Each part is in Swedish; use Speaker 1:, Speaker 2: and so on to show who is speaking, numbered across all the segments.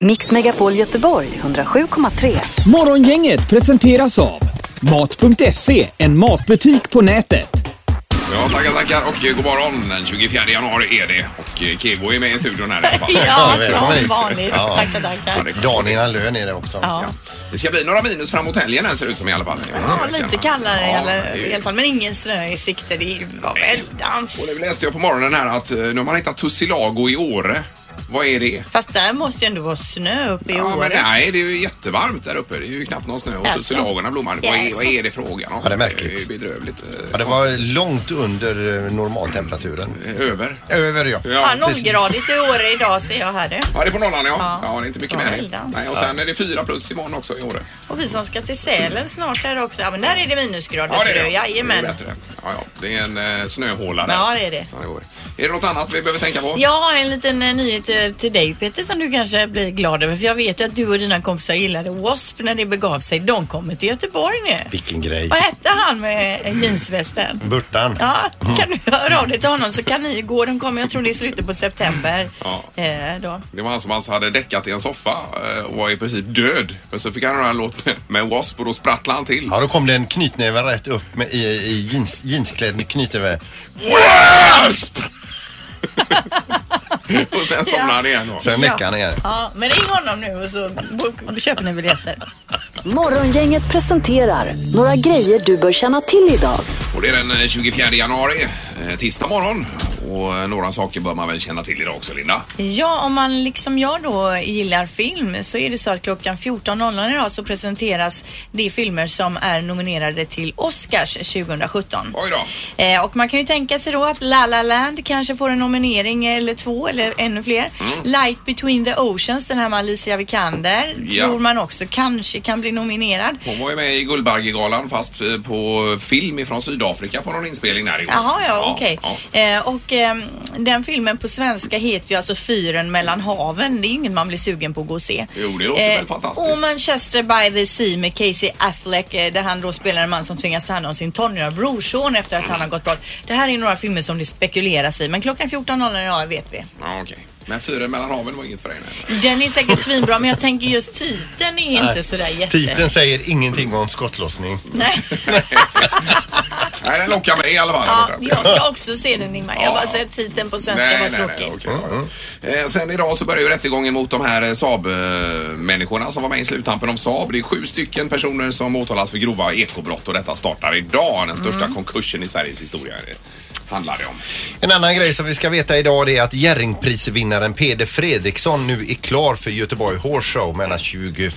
Speaker 1: Mix Megapol Göteborg 107,3.
Speaker 2: Morgongänget presenteras av Mat.se, en matbutik på nätet.
Speaker 3: Ja, tackar, tackar och eh, god morgon. Den 24 januari är det och eh, Kego är med i studion här i alla fall.
Speaker 4: Ja,
Speaker 5: välkommen.
Speaker 4: som vanligt.
Speaker 5: Ja.
Speaker 4: Tackar, tackar.
Speaker 5: Dagen innan lön är det också.
Speaker 4: Ja.
Speaker 3: Det ska bli några minus framåt helgen här ser det ut som i alla fall.
Speaker 4: Ja, lite kallare
Speaker 3: Ja,
Speaker 4: eller,
Speaker 3: det är
Speaker 4: i
Speaker 3: ju-
Speaker 4: alla fall, men ingen snö i sikte. Det var
Speaker 3: Och
Speaker 4: väldans.
Speaker 3: nu läste jag på morgonen här att eh, nu har man hittat Tussilago i Åre. Vad är det?
Speaker 4: Fast där måste ju ändå vara snö uppe i
Speaker 3: Ja, men
Speaker 4: Åre.
Speaker 3: nej, det är ju jättevarmt där uppe. Det är ju knappt någon snö och
Speaker 4: Jaså?
Speaker 3: tussilagorna blommar. Vad är,
Speaker 4: Jaså?
Speaker 3: vad är det frågan om?
Speaker 5: Ja, det är märkligt.
Speaker 3: Det är ju bedrövligt. eh,
Speaker 5: Ja, det var långt under eh, normaltemperaturen.
Speaker 3: eh, Över.
Speaker 5: Över ja.
Speaker 4: Ja,
Speaker 3: Ja.
Speaker 4: nollgradigt i Åre idag ser jag här du.
Speaker 3: Ja, det är på nollan ja.
Speaker 4: Ja.
Speaker 3: Ja, det är inte mycket
Speaker 4: Ja,
Speaker 3: mer.
Speaker 4: väldans.
Speaker 3: Nej, och sen är det fyra plus imorgon också i Åre.
Speaker 4: Och vi som ska till Sälen snart är det också. Ja, men där är det minusgrader.
Speaker 3: Ja, det är
Speaker 4: ser
Speaker 3: det.
Speaker 4: du. Jajamän.
Speaker 3: Det är bättre. Ja, ja. Det är en eh, snöhåla där.
Speaker 4: Ja, det är det.
Speaker 3: Så går. Är det något annat vi behöver tänka på?
Speaker 4: Jag har en liten eh, nyhet eh, till dig Peter som du kanske blir glad över. För jag vet ju att du och dina kompisar gillade W.A.S.P. när det begav sig. De kommer till Göteborg nu.
Speaker 5: Vilken grej.
Speaker 4: Vad hette han med eh, jeansvästen?
Speaker 5: Burtan.
Speaker 4: Ja, kan du höra av dig till honom så kan ni ju gå. De kommer, jag tror det är i slutet på september.
Speaker 3: Ja.
Speaker 4: Eh, då.
Speaker 3: Det var han som alltså hade däckat i en soffa eh, och var i princip död. Men så fick han höra en låt med, med W.A.S.P. och då sprattlade han till.
Speaker 5: Ja, då kom det en knytnäve rätt upp med, i, i jeans, jeansklädd knytnäve.
Speaker 3: W.A.S.P. och sen somnade han igen då.
Speaker 5: Sen näckade han igen.
Speaker 4: Ja, men ring honom nu och så bok- köper ni biljetter.
Speaker 1: Morgongänget presenterar några grejer du bör känna till idag.
Speaker 3: Och det är den eh, 24 januari, eh, tisdag morgon. Och eh, några saker bör man väl känna till idag också, Linda.
Speaker 4: Ja, om man liksom jag då gillar film så är det så att klockan 14.00 idag så presenteras de filmer som är nominerade till Oscars 2017.
Speaker 3: Oj då.
Speaker 4: Eh, och man kan ju tänka sig då att La La Land kanske får en nominering eller två eller ännu fler.
Speaker 3: Mm.
Speaker 4: Light Between the Oceans, den här med Alicia Vikander,
Speaker 3: Ja.
Speaker 4: tror man också kanske kan bli nominerad.
Speaker 3: Hon var ju med i Guldbaggegalan fast eh, på film ifrån Sydafrika på någon inspelning där i år.
Speaker 4: Jaha, ja, okej.
Speaker 3: ja.
Speaker 4: Eh, och ehm, den filmen på svenska heter ju alltså Fyren mellan haven. Det är inget man blir sugen på att gå och se. Eh,
Speaker 3: Jo, det låter väl fantastiskt.
Speaker 4: Och Manchester by the Sea med Casey Affleck eh, där han då spelar en man som tvingas ta hand om sin tonåriga brorson efter att han har gått bort. Det här är några filmer som det spekuleras i, men klockan 14.00 idag vet vi.
Speaker 3: Ja, okej. Men Fyren mellan haven var inget för dig? nej.
Speaker 4: Den är säkert svinbra, men jag tänker just titeln är inte sådär jätte...
Speaker 5: Titeln säger ingenting om skottlossning.
Speaker 4: Nej.
Speaker 3: Nej, den lockar mig i alla fall.
Speaker 4: Ja,
Speaker 3: Där borta.
Speaker 4: jag ska också se den Ingmar. Jag har bara
Speaker 3: Ja.
Speaker 4: sett titeln på svenska,
Speaker 3: Nej,
Speaker 4: var
Speaker 3: nej,
Speaker 4: tråkig.
Speaker 3: nej, okej, ja, ja. Eh, Sen idag så börjar ju rättegången mot de här eh, Saab-människorna som var med i sluttampen om Saab. Det är sju stycken personer som åtalas för grova ekobrott och detta startar idag.
Speaker 4: Mm.
Speaker 3: Den största konkursen i Sveriges historia eh, handlar det om.
Speaker 5: En annan grej som vi ska veta idag det är att Jerringprisvinnaren Peder Fredriksson nu är klar för Göteborg Horse Show mellan 21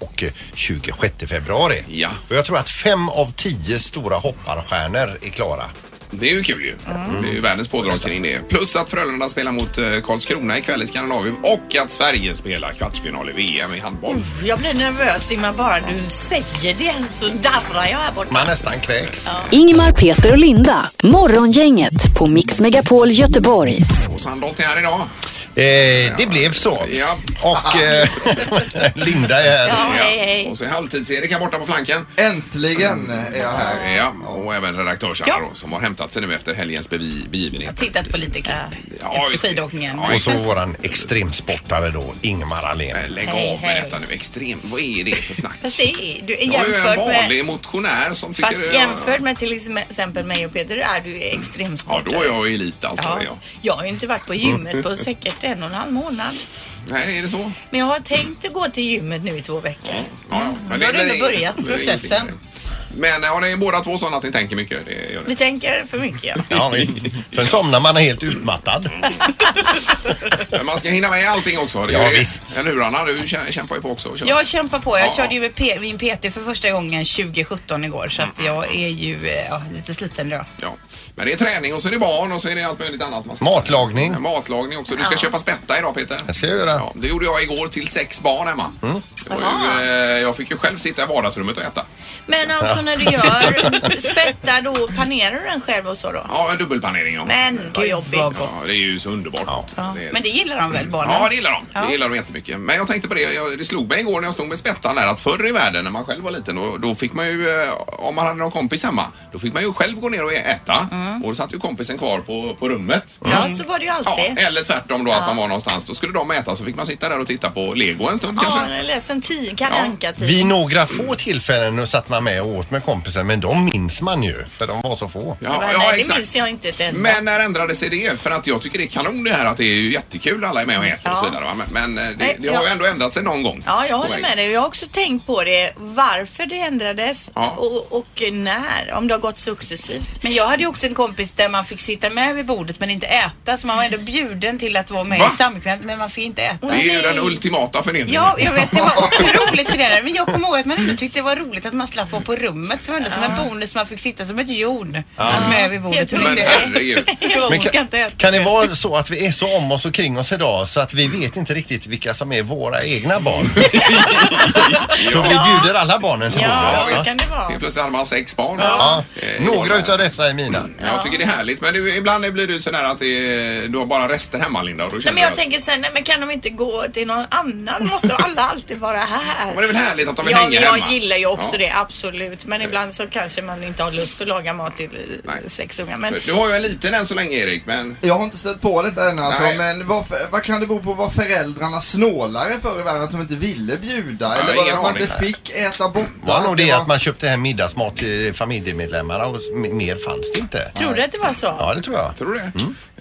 Speaker 5: och 26 februari.
Speaker 3: Ja.
Speaker 5: Och jag tror att fem av tio stora hopparstjärnor är klara.
Speaker 3: Det är ju kul ju.
Speaker 4: Mm.
Speaker 3: Det är ju världens pådrag kring det. Plus att Frölunda spelar mot eh, Karlskrona ikväll i Skandinavien och att Sverige spelar kvartsfinal i VM i handboll.
Speaker 4: Jag blir nervös Ingmar bara du säger det så darrar jag här borta.
Speaker 5: Man nästan kräks.
Speaker 1: Ingmar, Peter och Linda. Morgongänget på Mix Megapol Göteborg.
Speaker 4: Mm.
Speaker 3: Och Sandholt är här idag.
Speaker 5: Eh, det blev så.
Speaker 3: Ja.
Speaker 5: Och eh, Linda är här.
Speaker 4: Ja, hej hej.
Speaker 3: Och så är halvtids-Erik här borta på flanken.
Speaker 6: Äntligen är jag här.
Speaker 3: Ja, och även redaktörs
Speaker 4: Ja.
Speaker 3: då, som har hämtat sig nu efter helgens bevi- begivenheter.
Speaker 4: Tittat på lite klipp
Speaker 3: Ja,
Speaker 4: efter
Speaker 3: just det.
Speaker 4: skidåkningen.
Speaker 3: Ja,
Speaker 5: Och så våran extremsportare då, Ingmar Ahlén.
Speaker 3: Eh, Lägg
Speaker 4: Hej,
Speaker 3: av med
Speaker 4: hej.
Speaker 3: detta nu. Extrem. Vad är det för snack?
Speaker 4: Fast det är, du är
Speaker 3: Jag är ju en
Speaker 4: jämfört
Speaker 3: vanlig
Speaker 4: med,
Speaker 3: motionär som tycker...
Speaker 4: fast jämfört med till exempel mig och Peter är du
Speaker 3: Ja,
Speaker 4: extremsportare.
Speaker 3: då är jag elit alltså.
Speaker 4: Ja.
Speaker 3: är Jag.
Speaker 4: Jag har ju inte varit på gymmet på säkert en och en halv månad.
Speaker 3: Nej, är det så?
Speaker 4: Men jag har tänkt att gå till gymmet nu i två veckor.
Speaker 3: Ja, ja.
Speaker 4: Mm. då har du ändå
Speaker 3: är-
Speaker 4: börjat
Speaker 3: det är
Speaker 4: processen.
Speaker 3: ingenting. Men ja, det är båda två sådana att ni tänker mycket. Det gör ni.
Speaker 4: Vi tänker för mycket ja.
Speaker 5: Ja, visst. Sen somnar man helt utmattad.
Speaker 3: Men man ska hinna med allting också. Det
Speaker 5: Ja,
Speaker 3: gör det.
Speaker 5: visst.
Speaker 3: Men hurarna, du kä- kämpar ju på också. och kör.
Speaker 7: Jag kämpar på. Jag
Speaker 3: Ja.
Speaker 7: körde ju med P- min PT för första gången 2017 igår så att
Speaker 3: Mm.
Speaker 7: jag är ju eh, ja, lite sliten idag.
Speaker 3: Ja. Men det är träning och så är det barn och så är det allt möjligt annat. Man ska-
Speaker 5: Matlagning.
Speaker 3: Matlagning också. Du ska köpa spätta idag Peter.
Speaker 5: Det ska jag göra.
Speaker 3: Mm. Ja, det gjorde jag igår till sex barn hemma. Det var ju, eh, jag fick ju själv sitta i vardagsrummet och äta.
Speaker 4: Men alltså så när du gör spettar då panerar du den själv och så då?
Speaker 3: Ja, en dubbelpanering ja.
Speaker 4: Men vad jobbigt.
Speaker 3: ja, det är ju så underbart. Ja, det är det.
Speaker 7: Men det gillar de väl barnen?
Speaker 3: Ja, det gillar de. Det gillar de jättemycket. Men jag tänkte på det, jag, det slog mig igår när jag stod med spettan där att förr i världen när man själv var liten då, då fick man ju, eh, om man hade någon kompis hemma, då fick man ju själv gå ner och äta och då satt ju kompisen kvar på, på rummet.
Speaker 4: Mm. Ja, så var det ju
Speaker 3: Ja, eh,
Speaker 4: alltid.
Speaker 3: eller tvärtom då att man var någonstans. Då skulle de äta så fick man sitta där och titta på lego en stund
Speaker 4: Ja,
Speaker 3: kanske.
Speaker 4: eller läs en tid,
Speaker 3: Ja.
Speaker 4: Kalle Anka-tid.
Speaker 5: Vid några få tillfällen nu satt man med och åt med kompisen men de minns man ju för de var så få.
Speaker 3: Ja,
Speaker 4: Nej,
Speaker 3: ja,
Speaker 4: det
Speaker 3: exakt.
Speaker 4: minns jag inte ett enda.
Speaker 3: Men när ändrade sig det? För att jag tycker det är kanon det här att det är ju jättekul alla är med och äter och
Speaker 4: Ja.
Speaker 3: så vidare. va? Men, men eh, det,
Speaker 4: Nej,
Speaker 3: det har ju
Speaker 4: ja.
Speaker 3: ändå ändrat sig någon gång.
Speaker 4: Ja, jag
Speaker 3: På
Speaker 4: håller
Speaker 3: vägen.
Speaker 4: med dig. Jag har också tänkt på det, varför det ändrades
Speaker 3: Ja.
Speaker 4: och, och när. Om det har gått successivt.
Speaker 7: Men jag hade ju också en kompis där man fick sitta med vid bordet men inte äta så man var ändå bjuden till att vara med
Speaker 3: Va?
Speaker 7: i samkvämt men man fick inte äta.
Speaker 3: Det är ju den ultimata förnedringen.
Speaker 7: Ja, jag vet. Det var otroligt förnedrande. Men jag kommer ihåg att man ändå tyckte det var roligt att man slapp vara på rummet. Så var det som en bonus. Man fick sitta som ett hjorn med vid bordet.
Speaker 3: Men herregud.
Speaker 5: Men kan,
Speaker 4: äta.
Speaker 5: kan det vara så att vi är så om oss och kring oss idag så att vi vet inte riktigt vilka som är våra egna barn? så vi bjuder alla barnen till
Speaker 4: Ja,
Speaker 5: bordet.
Speaker 4: så
Speaker 5: va?
Speaker 4: kan det vara.
Speaker 3: Helt Plötsligt hade man sex barn.
Speaker 5: Ja,
Speaker 3: Eh,
Speaker 5: några
Speaker 3: barn.
Speaker 5: utav dessa är mina.
Speaker 3: Ja, Jag tycker det är härligt men du, ibland blir du sådär att det är, du har bara rester hemma Linda. Och då
Speaker 4: Nej,
Speaker 3: känner
Speaker 4: men jag
Speaker 3: att-
Speaker 4: tänker sen, nej men kan de inte gå till någon annan? Måste alla alltid vara här?
Speaker 3: Men det är väl härligt att de vill
Speaker 4: Ja,
Speaker 3: hänga
Speaker 4: jag
Speaker 3: hemma?
Speaker 4: gillar ju också
Speaker 3: Ja.
Speaker 4: det, absolut. Men ibland så kanske man inte har lust att laga mat till eh,
Speaker 3: Nej.
Speaker 4: sex unga. Men
Speaker 3: Du har ju en liten än så länge Erik men
Speaker 6: Jag har inte stött på detta än alltså,
Speaker 3: Nej.
Speaker 6: men varför, vad kan det bero på? Var föräldrarna snålare förr i världen? Att de inte ville bjuda? Eller var det
Speaker 3: ingen
Speaker 6: att man
Speaker 3: aning.
Speaker 6: inte fick äta borta?
Speaker 5: Var nog det
Speaker 6: var-
Speaker 5: att man köpte hem middagsmat till familjemedlemmarna och s- m- mer fanns det inte.
Speaker 4: tror du att det var så?
Speaker 5: Ja, det tror jag.
Speaker 3: tror du det?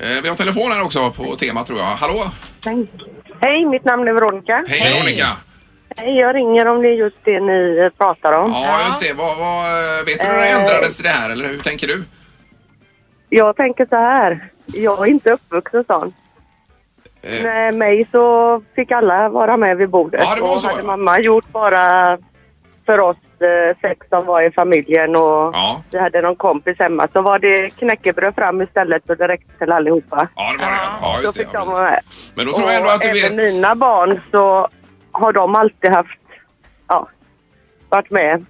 Speaker 5: Mm.
Speaker 3: Eh, Vi har telefon här också på tema tror jag. Hallå?
Speaker 8: Hej, mitt namn är Veronica.
Speaker 3: Hej, Veronica!
Speaker 8: Hej, jag ringer om det är just det ni eh, pratar om.
Speaker 3: Ja just det. Vad, vad, vet du när det
Speaker 8: Eh.
Speaker 3: ändrades det här eller hur tänker du?
Speaker 8: Jag tänker så här. Jag är inte uppvuxen sån.
Speaker 3: Eh.
Speaker 8: Med mig så fick alla vara med vid bordet.
Speaker 3: Ja, det var
Speaker 8: och
Speaker 3: så,
Speaker 8: hade
Speaker 3: ja.
Speaker 8: mamma gjort bara för oss eh, sex som var i familjen och
Speaker 3: Ja.
Speaker 8: vi hade någon kompis hemma så var det knäckebröd fram istället och direkt till allihopa.
Speaker 3: Ja det var det. Ja,
Speaker 8: Då
Speaker 3: just det.
Speaker 8: fick de vara
Speaker 3: Ja,
Speaker 8: med.
Speaker 3: precis. men då tror jag ändå att du
Speaker 8: även
Speaker 3: vet.
Speaker 8: mina barn så har de alltid haft, ja, varit med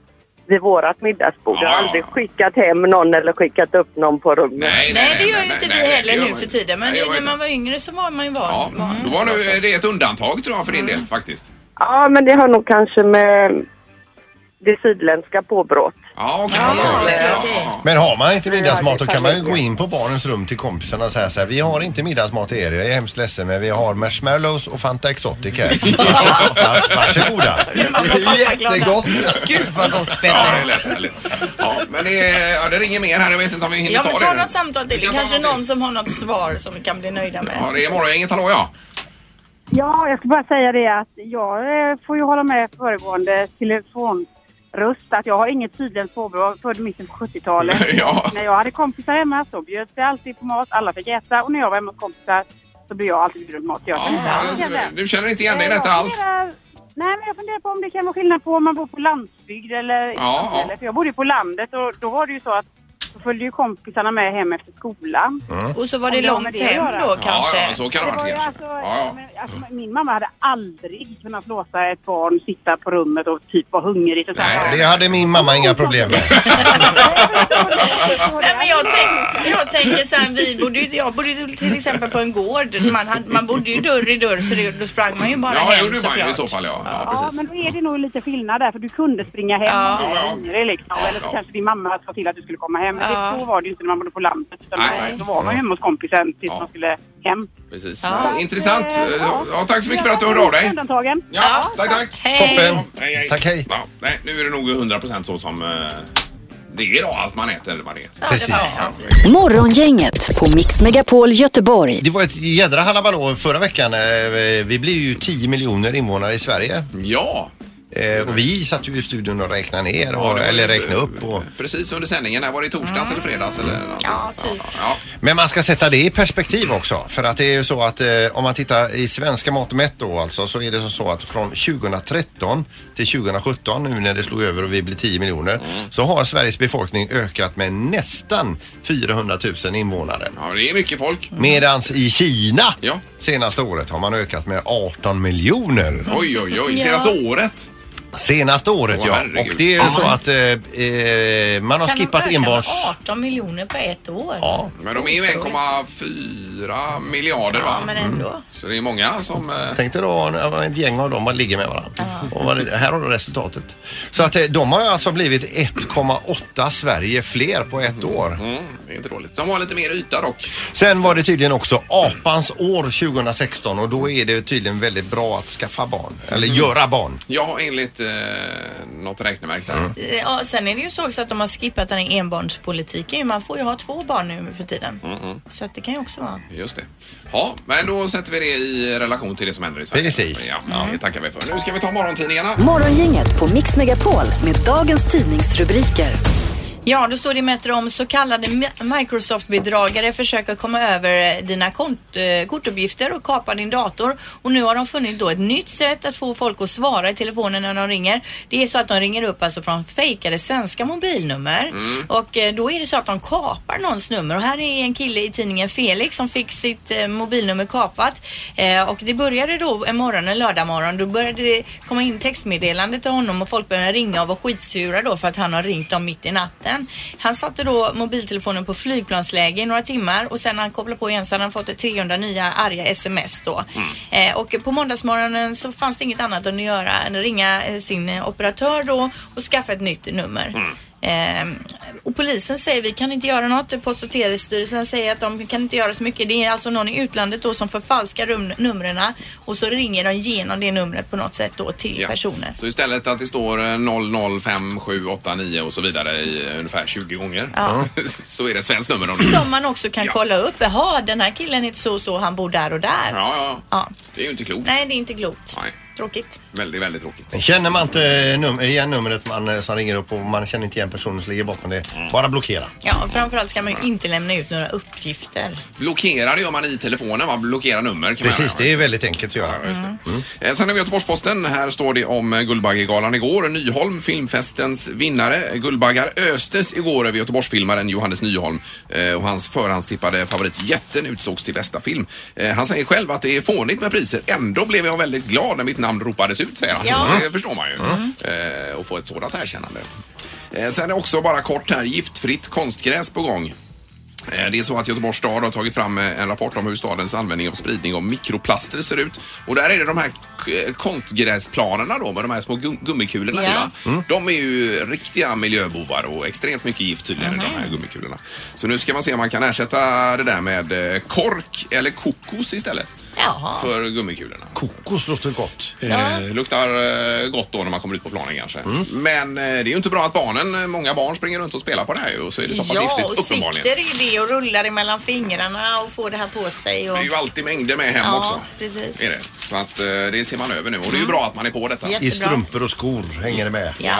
Speaker 8: vid vårat middagsbord.
Speaker 3: Ja,
Speaker 8: Jag har
Speaker 3: ja.
Speaker 8: aldrig skickat hem någon eller skickat upp någon på rummet.
Speaker 3: Nej,
Speaker 4: Nej, det gör ju
Speaker 3: nej,
Speaker 4: inte
Speaker 3: nej,
Speaker 4: vi
Speaker 3: nej,
Speaker 4: heller
Speaker 3: det gör
Speaker 4: nu
Speaker 3: man
Speaker 4: för
Speaker 3: inte.
Speaker 4: tiden. Men
Speaker 3: Nej, det gör
Speaker 4: när
Speaker 3: inte.
Speaker 4: man var yngre så var Mm. man ju van.
Speaker 3: Ja,
Speaker 4: van.
Speaker 3: då var nu, det är ett undantag tror jag för din del faktiskt.
Speaker 8: Ja, men det har nog kanske med det sydländska påbrået.
Speaker 3: Ja, okej.
Speaker 4: Ja,
Speaker 3: just det.
Speaker 4: okej.
Speaker 3: Ja, ja.
Speaker 5: Men har man inte middagsmat
Speaker 8: det
Speaker 5: då
Speaker 8: är
Speaker 5: kan man ju gå
Speaker 8: familj.
Speaker 5: in på barnens rum till kompisarna och säga så här. Vi har inte middagsmat till er. Jag är hemskt ledsen men vi har marshmallows och Fanta Exotic här. Varsågoda.
Speaker 6: Jättegott!
Speaker 7: Gud vad gott
Speaker 3: Ja, det
Speaker 7: Peter.
Speaker 3: är lätt, härligt. Ja, men det, är- ja, det ringer mer här. Jag vet inte om vi hinner
Speaker 4: Ja,
Speaker 3: ta
Speaker 4: men
Speaker 3: det.
Speaker 4: ta
Speaker 3: nu.
Speaker 4: något samtal till.
Speaker 3: Vi
Speaker 4: Det
Speaker 3: kan ta
Speaker 4: kanske
Speaker 3: något
Speaker 4: någon som har något svar som vi kan bli nöjda med.
Speaker 3: Ja, det är morgongänget. Hallå ja.
Speaker 9: Ja, jag ska bara säga det att jag eh, får ju hålla med föregående telefonröst att jag har inget tydligt påbrå. Jag född i mitten på 70-talet.
Speaker 3: Ja.
Speaker 9: När jag hade kompisar hemma så bjöds det alltid på mat. Alla fick äta och när jag var hemma hos kompisar så blev jag alltid bjuden på mat. Jag kan inte
Speaker 3: Ja, alltså,
Speaker 9: alls känna.
Speaker 3: du känner inte igen dig i
Speaker 9: Eh, jag
Speaker 3: detta alls?
Speaker 9: funderar- Nej, men jag funderar på om det kan vara skillnad på om man bor på landsbygd eller i
Speaker 3: Ja, ja.
Speaker 9: samhället. För jag bodde ju på landet och då var det ju så att då följde ju kompisarna med hem efter skolan.
Speaker 3: Mm.
Speaker 4: Och så var det
Speaker 9: Ja, men
Speaker 4: långt
Speaker 9: det gör
Speaker 4: hem
Speaker 9: det.
Speaker 4: då
Speaker 3: Ja,
Speaker 4: kanske.
Speaker 3: ja, så kan det
Speaker 9: Det
Speaker 3: ha
Speaker 9: var ju
Speaker 3: varit
Speaker 9: alltså,
Speaker 3: kanske. Ja, ja.
Speaker 9: men, alltså, min mamma hade aldrig alltså kunnat låta ett barn sitta på rummet och typ vara hungrig. Och så här.
Speaker 3: Nej,
Speaker 5: Det hade min mamma inga problem med.
Speaker 4: Nej, men jag, tänk, jag tänker så här, vi bodde ju, jag bodde ju till exempel på en gård. Man, hade, man bodde ju dörr i dörr så det, då sprang man ju bara
Speaker 3: Ja,
Speaker 4: hem
Speaker 3: gjorde man ju i
Speaker 4: såklart.
Speaker 3: så fall ja. Ja,
Speaker 9: Ja, men
Speaker 3: precis.
Speaker 9: då är det nog lite skillnad där, för du kunde springa hem
Speaker 4: Ja.
Speaker 9: om du var hungrig liksom.
Speaker 3: Ja,
Speaker 9: Eller så
Speaker 3: ja.
Speaker 9: kanske din mamma sa till att du skulle komma hem. Men
Speaker 4: Ja.
Speaker 9: det, så var det ju inte när man bodde på landet. Utan
Speaker 3: Nej.
Speaker 9: Då var man ju hemma hos kompisen tills
Speaker 3: Ja.
Speaker 9: man skulle hem.
Speaker 3: precis.
Speaker 4: Ja.
Speaker 3: Men Intressant.
Speaker 9: Eh, ja.
Speaker 3: Ja, tack så mycket för att du hörde av dig.
Speaker 9: Undantagen.
Speaker 3: Ja, tack, tack.
Speaker 5: Toppen.
Speaker 3: Ja, hej, hej.
Speaker 5: Tack, hej.
Speaker 3: Ja, nej, nu är det nog 100% så som eh, det är idag, allt man äter eller vad det är.
Speaker 5: Precis.
Speaker 3: Ja,
Speaker 1: Morgongänget på Mix Megapol Göteborg.
Speaker 5: Det var ett jädra halabalå förra veckan. Eh, Vi blev ju 10 miljoner invånare i Sverige.
Speaker 3: ja.
Speaker 5: Eh, Och vi satt ju i studion och räknade ner,
Speaker 3: Ja,
Speaker 5: och,
Speaker 3: det var
Speaker 5: eller
Speaker 3: ju-
Speaker 5: räknade upp. Och,
Speaker 3: precis under sändningen. Här var det i torsdags eller fredags? Eller någonting. ja, typ. Ja,
Speaker 5: Men man ska sätta det i perspektiv också. För att det är ju så att eh, om man tittar i svenska mått mätt då alltså så är det som så att från 2013 till 2017 nu när det slog över och vi blev 10 miljoner
Speaker 3: Mm.
Speaker 5: så har Sveriges befolkning ökat med nästan 400 000 invånare.
Speaker 3: ja, det är mycket folk.
Speaker 5: Medans i Kina
Speaker 3: Ja.
Speaker 5: senaste året har man ökat med 18 miljoner.
Speaker 3: Oj, oj, oj. Senaste året.
Speaker 5: Senaste året
Speaker 3: Åh,
Speaker 5: ja. Och
Speaker 3: herregud.
Speaker 5: det är ju så att eh, eh, man har
Speaker 4: Kan de
Speaker 5: skippat
Speaker 4: öka med
Speaker 5: enbarns...
Speaker 4: 18 miljoner på ett år.
Speaker 5: Ja.
Speaker 3: Men de är ju 1,4 miljarder va?
Speaker 4: Ja, men ändå.
Speaker 3: Så det är många som... eh,
Speaker 5: Tänk dig då när ett gäng av dem man ligger med varandra. Och vad det- här har du resultatet. Så att eh, de har ju alltså blivit 1,8 Sverige fler på ett år.
Speaker 3: Mm, det är inte dåligt. De har lite mer yta dock.
Speaker 5: Sen var det tydligen också apans år 2016 och då är det tydligen väldigt bra att skaffa barn. Eller
Speaker 4: Mm.
Speaker 5: göra barn.
Speaker 3: Ja, enligt eh, något räkneverk där.
Speaker 5: Mm.
Speaker 4: Ja, sen är det ju så också att de har skippat den här enbarnspolitiken. Man får ju ha två barn nu för tiden.
Speaker 3: Mm,
Speaker 4: Så att det kan ju också vara.
Speaker 3: Just det. Ja, men då sätter vi det i relation till det som händer i Sverige.
Speaker 5: Precis. Mm.
Speaker 3: Ja, det tackar vi för. Nu ska vi ta morgontidningarna.
Speaker 1: Morgongänget på Mix Megapol med dagens tidningsrubriker.
Speaker 4: Ja, då står det i Metro om så kallade Mi- Microsoft-bedragare försöker komma över dina kont- eh, kortuppgifter och kapa din dator. Och nu har de funnit då ett nytt sätt att få folk att svara i telefonen när de ringer. Det är så att de ringer upp alltså från fejkade svenska mobilnummer. Och eh, då är det så att de kapar någons nummer. Och här är en kille i tidningen Felix som fick sitt eh, mobilnummer kapat. Eh, och det började då en morgon, en lördagmorgon. Då började det komma in textmeddelande till honom och folk började ringa och var skitsura då för att han har ringt dem mitt i natten. Han satte då mobiltelefonen på flygplansläge i några timmar och sen när han kopplade på igen så hade han fått 300 nya arga sms då. Eh, och på måndagsmorgonen så fanns det inget annat att göra än att ringa eh, sin eh, operatör då och skaffa ett nytt nummer. Ehm, och polisen säger vi kan inte göra något. Post och telestyrelsen säger att de kan inte göra så mycket. Det är alltså någon i utlandet då som förfalskar rum- numren och så ringer de genom det numret på något sätt då till
Speaker 3: Ja.
Speaker 4: personer.
Speaker 3: Så istället att det står eh, 005789 och så vidare i ungefär 20 gånger så är det ett svenskt nummer. Om du-
Speaker 4: Som man också kan
Speaker 3: Ja.
Speaker 4: kolla upp. Jaha, den här killen heter så och så, han bor där och där.
Speaker 3: Ja, ja,
Speaker 4: Ja.
Speaker 3: Det är ju inte klokt.
Speaker 4: Nej, det är inte klokt.
Speaker 3: Nej.
Speaker 4: Tråkigt.
Speaker 3: Väldigt, väldigt tråkigt.
Speaker 5: Känner man inte num- igen numret man, eh, som ringer upp och man känner inte igen personen som ligger bakom det, bara blockera.
Speaker 4: Mm. Ja, och framförallt ska man ju inte lämna ut några uppgifter.
Speaker 3: Blockera det gör man i telefonen, va? Blockera nummer kan
Speaker 5: Precis,
Speaker 3: man
Speaker 5: det är väldigt enkelt att göra.
Speaker 3: Eh, Sen har vi Göteborgs-Posten. Här står det om eh, Guldbaggegalan igår. Nyholm, filmfestens vinnare. Guldbaggar östes igår över Göteborgsfilmaren Johannes Nyholm eh, och hans förhandstippade favorit Jätten utsågs till bästa film. Eh, Han säger själv att det är fånigt med priser. Ändå blev jag väldigt glad när mitt namn ropades ut, säger han.
Speaker 4: Ja.
Speaker 3: Det förstår man ju. Eh, Att få ett sådant erkännande. Eh, Sen är också bara kort här, giftfritt konstgräs på gång. Eh, Det är så att Göteborgs stad har tagit fram eh, en rapport om hur stadens användning och spridning av mikroplaster ser ut. Och där är det de här k- eh, konstgräsplanerna då med de här små gum- gummikulorna
Speaker 4: Ja. Mm.
Speaker 3: i, va? De är ju riktiga miljöbovar och extremt mycket gift tydligen
Speaker 4: Mhm.
Speaker 3: i de här gummikulorna. Så nu ska man se om man kan ersätta det där med eh, kork eller kokos istället
Speaker 4: Jaha.
Speaker 3: för gummikulorna.
Speaker 5: Kokos låter gott.
Speaker 3: Eh, luktar eh, gott då när man kommer ut på planen kanske.
Speaker 4: Mm.
Speaker 3: Men eh, det är ju inte bra att barnen, eh, många barn springer runt och spelar på det här ju, och så är det så pass
Speaker 4: Ja, och
Speaker 3: giftigt uppenbarligen.
Speaker 4: sitter i det och rullar emellan fingrarna och får det här på sig. Och...
Speaker 3: Det är ju alltid mängder med hem
Speaker 4: Ja,
Speaker 3: också.
Speaker 4: precis. Mm.
Speaker 3: Är det. Så att eh, det ser man över nu och det är ju bra att man är på detta.
Speaker 4: Ja.
Speaker 5: I
Speaker 4: Jättebra.
Speaker 5: strumpor och skor hänger det med.
Speaker 4: Ja.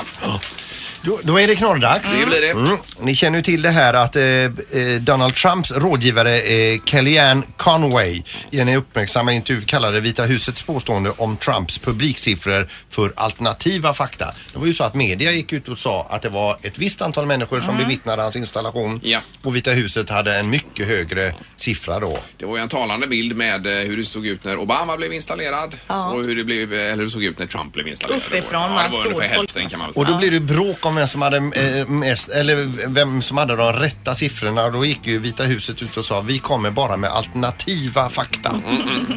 Speaker 5: Då, då är det knorrdags. Mm.
Speaker 3: Det blir det.
Speaker 5: Ni känner ju till det här att eh, eh, Donald Trumps rådgivare eh, Kellyanne Conway i en uppmärksamma intervju kallade Vita husets påstående om Trumps publiksiffror för alternativa fakta. Det var ju så att media gick ut och sa att det var ett visst antal människor som bevittnade hans installation
Speaker 3: Mm. Ja.
Speaker 5: och Vita huset hade en mycket högre siffra då.
Speaker 3: Det var ju en talande bild med eh, hur det såg ut när Obama blev installerad och hur det, blev, eh, eller hur det såg ut när Trump blev installerad.
Speaker 4: Uppifrån,
Speaker 3: ja, det
Speaker 4: man
Speaker 3: var
Speaker 4: såg
Speaker 3: ungefär
Speaker 4: folk
Speaker 3: hälften kan man väl säga.
Speaker 5: Och då blir det bråk om vem som hade eh, mest, eller vem som hade de rätta siffrorna. Och då gick ju Vita huset ut och sa vi kommer bara med alternativa fakta.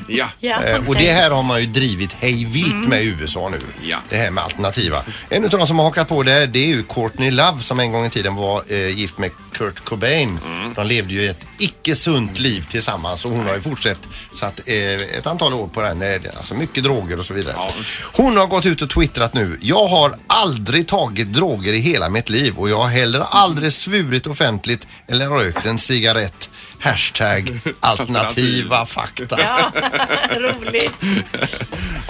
Speaker 3: Ja.
Speaker 4: Ja,
Speaker 5: Eh, och det här har man ju drivit hej vilt med i USA nu.
Speaker 3: Ja.
Speaker 5: Det här med alternativa. En av de som har hakat på det här det är ju Courtney Love som en gång i tiden var eh, gift med Kurt Cobain. De levde ju ett icke sunt liv tillsammans och hon har ju fortsatt satt eh, ett antal år på den. här. Alltså mycket droger och så vidare.
Speaker 3: Ja.
Speaker 5: Hon har gått ut och twittrat nu. Jag har aldrig tagit droger i hela mitt liv och jag har heller aldrig svurit offentligt eller rökt en cigarett. Hashtag alternativa fakta.
Speaker 4: ja. roligt.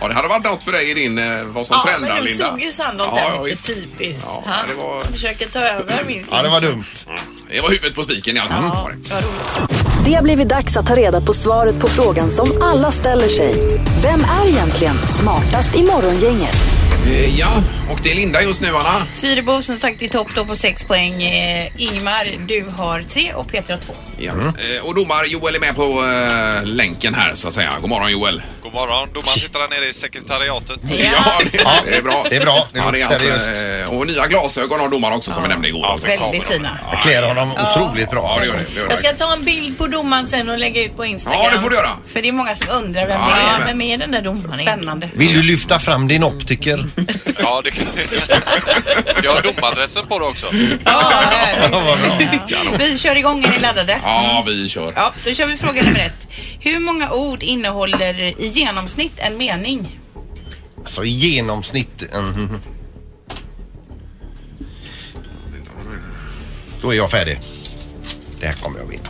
Speaker 3: ja, det hade varit något för dig i din, eh, vad som
Speaker 4: ja,
Speaker 3: trendar
Speaker 4: men nu
Speaker 3: Linda.
Speaker 4: såg ju Sandholt
Speaker 3: Ja, ja,
Speaker 4: den lite
Speaker 3: visst.
Speaker 4: typiskt.
Speaker 3: Ja,
Speaker 4: Han
Speaker 3: det var-
Speaker 4: försöker ta över min tid.
Speaker 5: Ja, det var dumt.
Speaker 3: Det var huvudet på spiken i alla fall.
Speaker 4: Ja,
Speaker 3: Var det.
Speaker 4: vad roligt.
Speaker 1: Det har blivit dags att ta reda på svaret på frågan som alla ställer sig. Vem är egentligen smartast i Morgongänget?
Speaker 3: Eh, Ja, och det är Linda just nu Anna.
Speaker 7: Fyrebo som sagt i topp då på 6 poäng. Eh, Ingmar, du har 3 och Peter har 2.
Speaker 3: Ja.
Speaker 5: Mm.
Speaker 3: Eh, Och domar Joel är med på eh, länken här så att säga. God morgon Joel.
Speaker 10: God morgon. Domaren sitter där nere i sekretariatet.
Speaker 3: Ja, det, det är bra.
Speaker 5: Det är bra. Det
Speaker 3: Ja,
Speaker 5: låter
Speaker 3: det är alltså,
Speaker 5: seriöst.
Speaker 3: eh, och nya glasögon har domaren också som vi nämnde igår. Alltså,
Speaker 7: Väldigt
Speaker 3: glasögon.
Speaker 7: fina.
Speaker 5: Jag klär honom otroligt bra.
Speaker 3: Ja, det
Speaker 5: alltså.
Speaker 3: gör det. det, gör det.
Speaker 4: Jag ska ta en bild på domaren sen och lägga ut på Instagram.
Speaker 3: Ja, det får du göra.
Speaker 7: För det är många som undrar vem
Speaker 3: Ja,
Speaker 7: det
Speaker 4: Ja,
Speaker 7: är.
Speaker 3: jajamän.
Speaker 4: vem är den där domaren?
Speaker 7: Spännande.
Speaker 5: Vill du lyfta fram din optiker?
Speaker 10: Ja, det kan Jag har domadressen på det också.
Speaker 5: Ja, vad bra.
Speaker 7: Vi kör igång, är ni laddade?
Speaker 3: Ja, vi kör.
Speaker 7: Ja, då kör vi fråga nummer ett. Hur många ord innehåller i genomsnitt en mening?
Speaker 5: Alltså i genomsnitt. mhm. Då är jag färdig. Det här kommer jag vinna.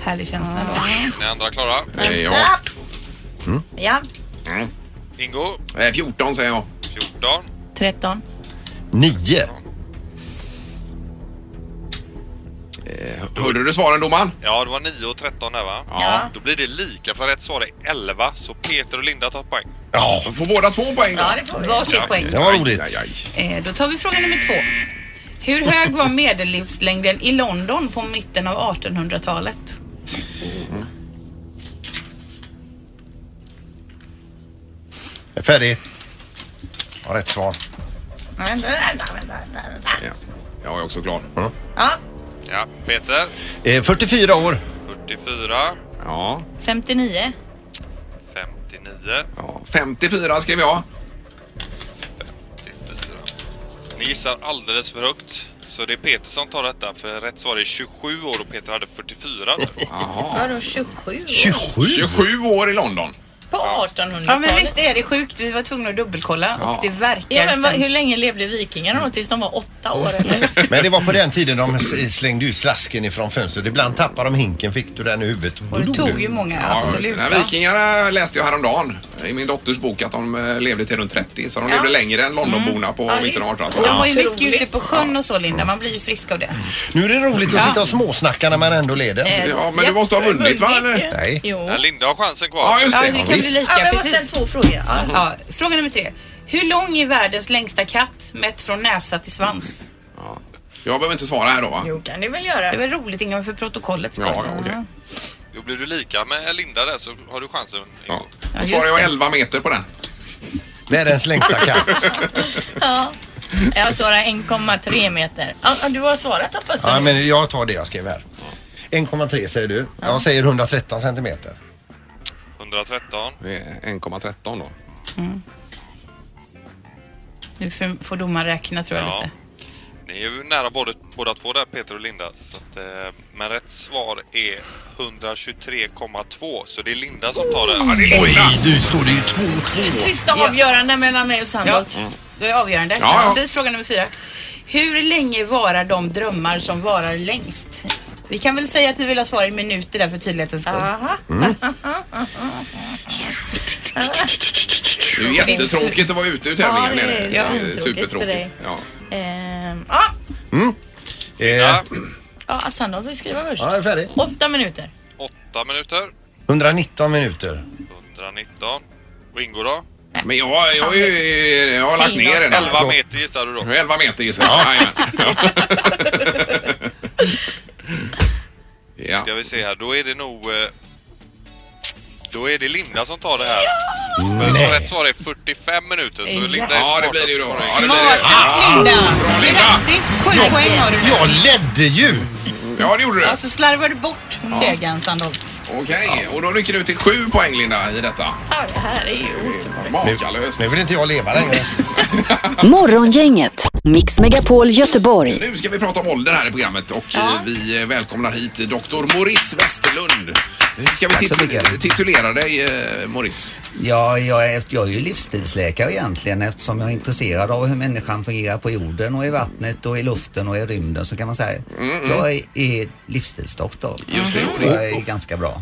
Speaker 7: Härlig känsla då.
Speaker 10: Ni andra klara?
Speaker 3: Eh, Ja.
Speaker 4: Ja,
Speaker 10: Ingo,
Speaker 3: Eh, 14 säger jag.
Speaker 10: 14.
Speaker 4: 13.
Speaker 5: Nio.
Speaker 3: Hörde du svaren domaren?
Speaker 10: Ja, det var 9 och 13 där va?
Speaker 3: Ja.
Speaker 10: Då blir det lika för rätt svar är 11, så Peter och Linda tar poäng.
Speaker 5: Ja,
Speaker 3: Får båda två poäng då?
Speaker 7: Ja, det får varsitt poäng.
Speaker 5: det var roligt.
Speaker 3: Aj, aj, aj.
Speaker 7: Eh, Då tar vi fråga nummer två. Hur hög var medellivslängden i London på mitten av 1800-talet?
Speaker 5: Jag är färdig. Ja, rätt svar.
Speaker 7: Vänta, vänta, vänta, vänta.
Speaker 3: Ja. Jag är också klar.
Speaker 10: Ja, Peter,
Speaker 5: Eh, 44 år.
Speaker 10: 44,
Speaker 3: Ja.
Speaker 4: 59.
Speaker 10: 59,
Speaker 3: ja. 54 skrev jag.
Speaker 10: 54. Ni gissar alldeles för högt. Så det är Peter som tar detta, för rätt svar är 27 år och Peter hade 44.
Speaker 3: Jaha.
Speaker 4: Vadå 27?
Speaker 5: 27?
Speaker 3: 27 år i London.
Speaker 4: På
Speaker 7: Ja men
Speaker 4: 1800-talet?
Speaker 7: visst är det sjukt. Vi var tvungna att dubbelkolla
Speaker 3: Ja.
Speaker 7: och det verkar
Speaker 4: Ja, men vad-
Speaker 7: stämma.
Speaker 4: hur länge levde vikingarna då? Tills de var åtta år
Speaker 7: Mm.
Speaker 4: eller?
Speaker 5: Men det var på den tiden de s- slängde ut slasken ifrån fönstret. Ibland tappade de hinken, fick du den i huvudet.
Speaker 7: Och det tog ju många, absolut.
Speaker 3: Ja,
Speaker 7: va?
Speaker 3: vikingarna läste jag häromdagen i min dotters bok att de eh, levde till runt 30 så de levde längre än Londonborna på mitten av 1800-talet.
Speaker 7: De var ju mycket
Speaker 4: Otroligt.
Speaker 7: ute på sjön och så Linda, man blir ju frisk av
Speaker 3: Mm,
Speaker 7: det.
Speaker 5: Nu är det roligt att sitta och småsnacka när man ändå
Speaker 7: Eh,
Speaker 5: leder.
Speaker 3: Ja, men du måste ha vunnit va? eller?
Speaker 5: Nej.
Speaker 4: Jo.
Speaker 10: Ja, Linda har chansen kvar.
Speaker 3: Ja, just
Speaker 7: Ja,
Speaker 3: det.
Speaker 7: det kan bli
Speaker 3: visst.
Speaker 7: lika, precis.
Speaker 4: två frågor. Ja.
Speaker 3: Mm.
Speaker 7: Ja, fråga nummer tre. Hur lång är världens längsta katt mätt från näsa till svans?
Speaker 3: Jag behöver inte svara här då va?
Speaker 4: Jo, kan du väl
Speaker 7: Det
Speaker 4: göra.
Speaker 7: var roligt Ingemar för protokollet skull.
Speaker 3: Ja, ja, okej.
Speaker 10: Då blir du lika med Linda där så har du chansen. Ingo.
Speaker 3: Ja.
Speaker 7: Ja,
Speaker 3: Då
Speaker 7: just
Speaker 3: svarar jag
Speaker 7: det.
Speaker 3: 11 meter på den.
Speaker 5: Världens längsta katt.
Speaker 4: Mm. Jag svarar 1,3 meter. Ja, ja, du har svarat hoppas
Speaker 5: Ja,
Speaker 4: jag.
Speaker 5: men jag tar det jag skrev här. 1,3 säger du. Jag säger 113 centimeter.
Speaker 10: 113.
Speaker 3: Det är 1,13 då.
Speaker 7: Nu får får domaren räkna tror jag
Speaker 10: Ja.
Speaker 7: lite.
Speaker 10: Ni är ju nära både, båda två där, Peter och Linda. Så att, eh, men rätt svar är 123,2 så det är Linda som tar det.
Speaker 5: Oj, du stod det ju 2-2.
Speaker 4: Sista avgörande mellan mig och
Speaker 7: Ja,
Speaker 4: Sandholt.
Speaker 7: då är jag avgörande.
Speaker 3: Ja, ja.
Speaker 7: Precis fråga nummer fyra. Hur länge varar de drömmar som varar längst? Vi kan väl säga att vi vill ha svar i minuter där för tydlighetens skull.
Speaker 3: Det är ju jättetråkigt att vara ute ur tävlingen.
Speaker 4: Ja, det är
Speaker 3: är det?
Speaker 4: jättetråkigt för dig.
Speaker 3: Ja.
Speaker 4: Ehm, ah,
Speaker 5: Eh, ja,
Speaker 4: ja, Sandholt får skriva först.
Speaker 5: jag är färdig.
Speaker 4: Åtta minuter.
Speaker 10: 8 minuter.
Speaker 5: 119 minuter.
Speaker 10: 119. Och Ingo då?
Speaker 3: Men jag, jag, är ju- jag har lagt ner den.
Speaker 10: 11
Speaker 3: alltså.
Speaker 10: meter gissar du då.
Speaker 3: 11 meter gissar jag. Ja. Ja.
Speaker 10: Ska vi se här, då är det nog... eh, Då är det Linda som tar det här. För så rätt svar är 45 minuter så Linda
Speaker 3: Ja, det
Speaker 10: är smartast
Speaker 3: blir det ju då.
Speaker 10: på
Speaker 3: Ja, det blir det.
Speaker 7: Smartast Linda! Grattis! Sju poäng har du nu.
Speaker 5: Jag ledde ju!
Speaker 3: Ja, det gjorde du.
Speaker 7: Ja, så slarvar du bort segern Sandholt.
Speaker 3: Okej, och då rycker du till sju poäng Linda i detta.
Speaker 4: Ja, det här är ju otroligt.
Speaker 3: Makalöst.
Speaker 5: Nu vill inte jag leva längre.
Speaker 1: Morgongänget, Mix Megapol Göteborg.
Speaker 3: Nu ska vi prata om ålder här i programmet och eh, vi eh, välkomnar hit Dr. Maurice Westerlund. Hur ska vi
Speaker 11: Tack så
Speaker 3: titu-
Speaker 11: mycket.
Speaker 3: titulera dig eh, Maurice?
Speaker 11: Ja, jag är, jag är ju livsstilsläkare egentligen eftersom jag är intresserad av hur människan fungerar på jorden och i vattnet och i luften och i rymden så kan man säga.
Speaker 10: Mm,
Speaker 11: Jag är, är livsstilsdoktor. Just det. Och jag är
Speaker 10: Oh.
Speaker 11: ganska bra.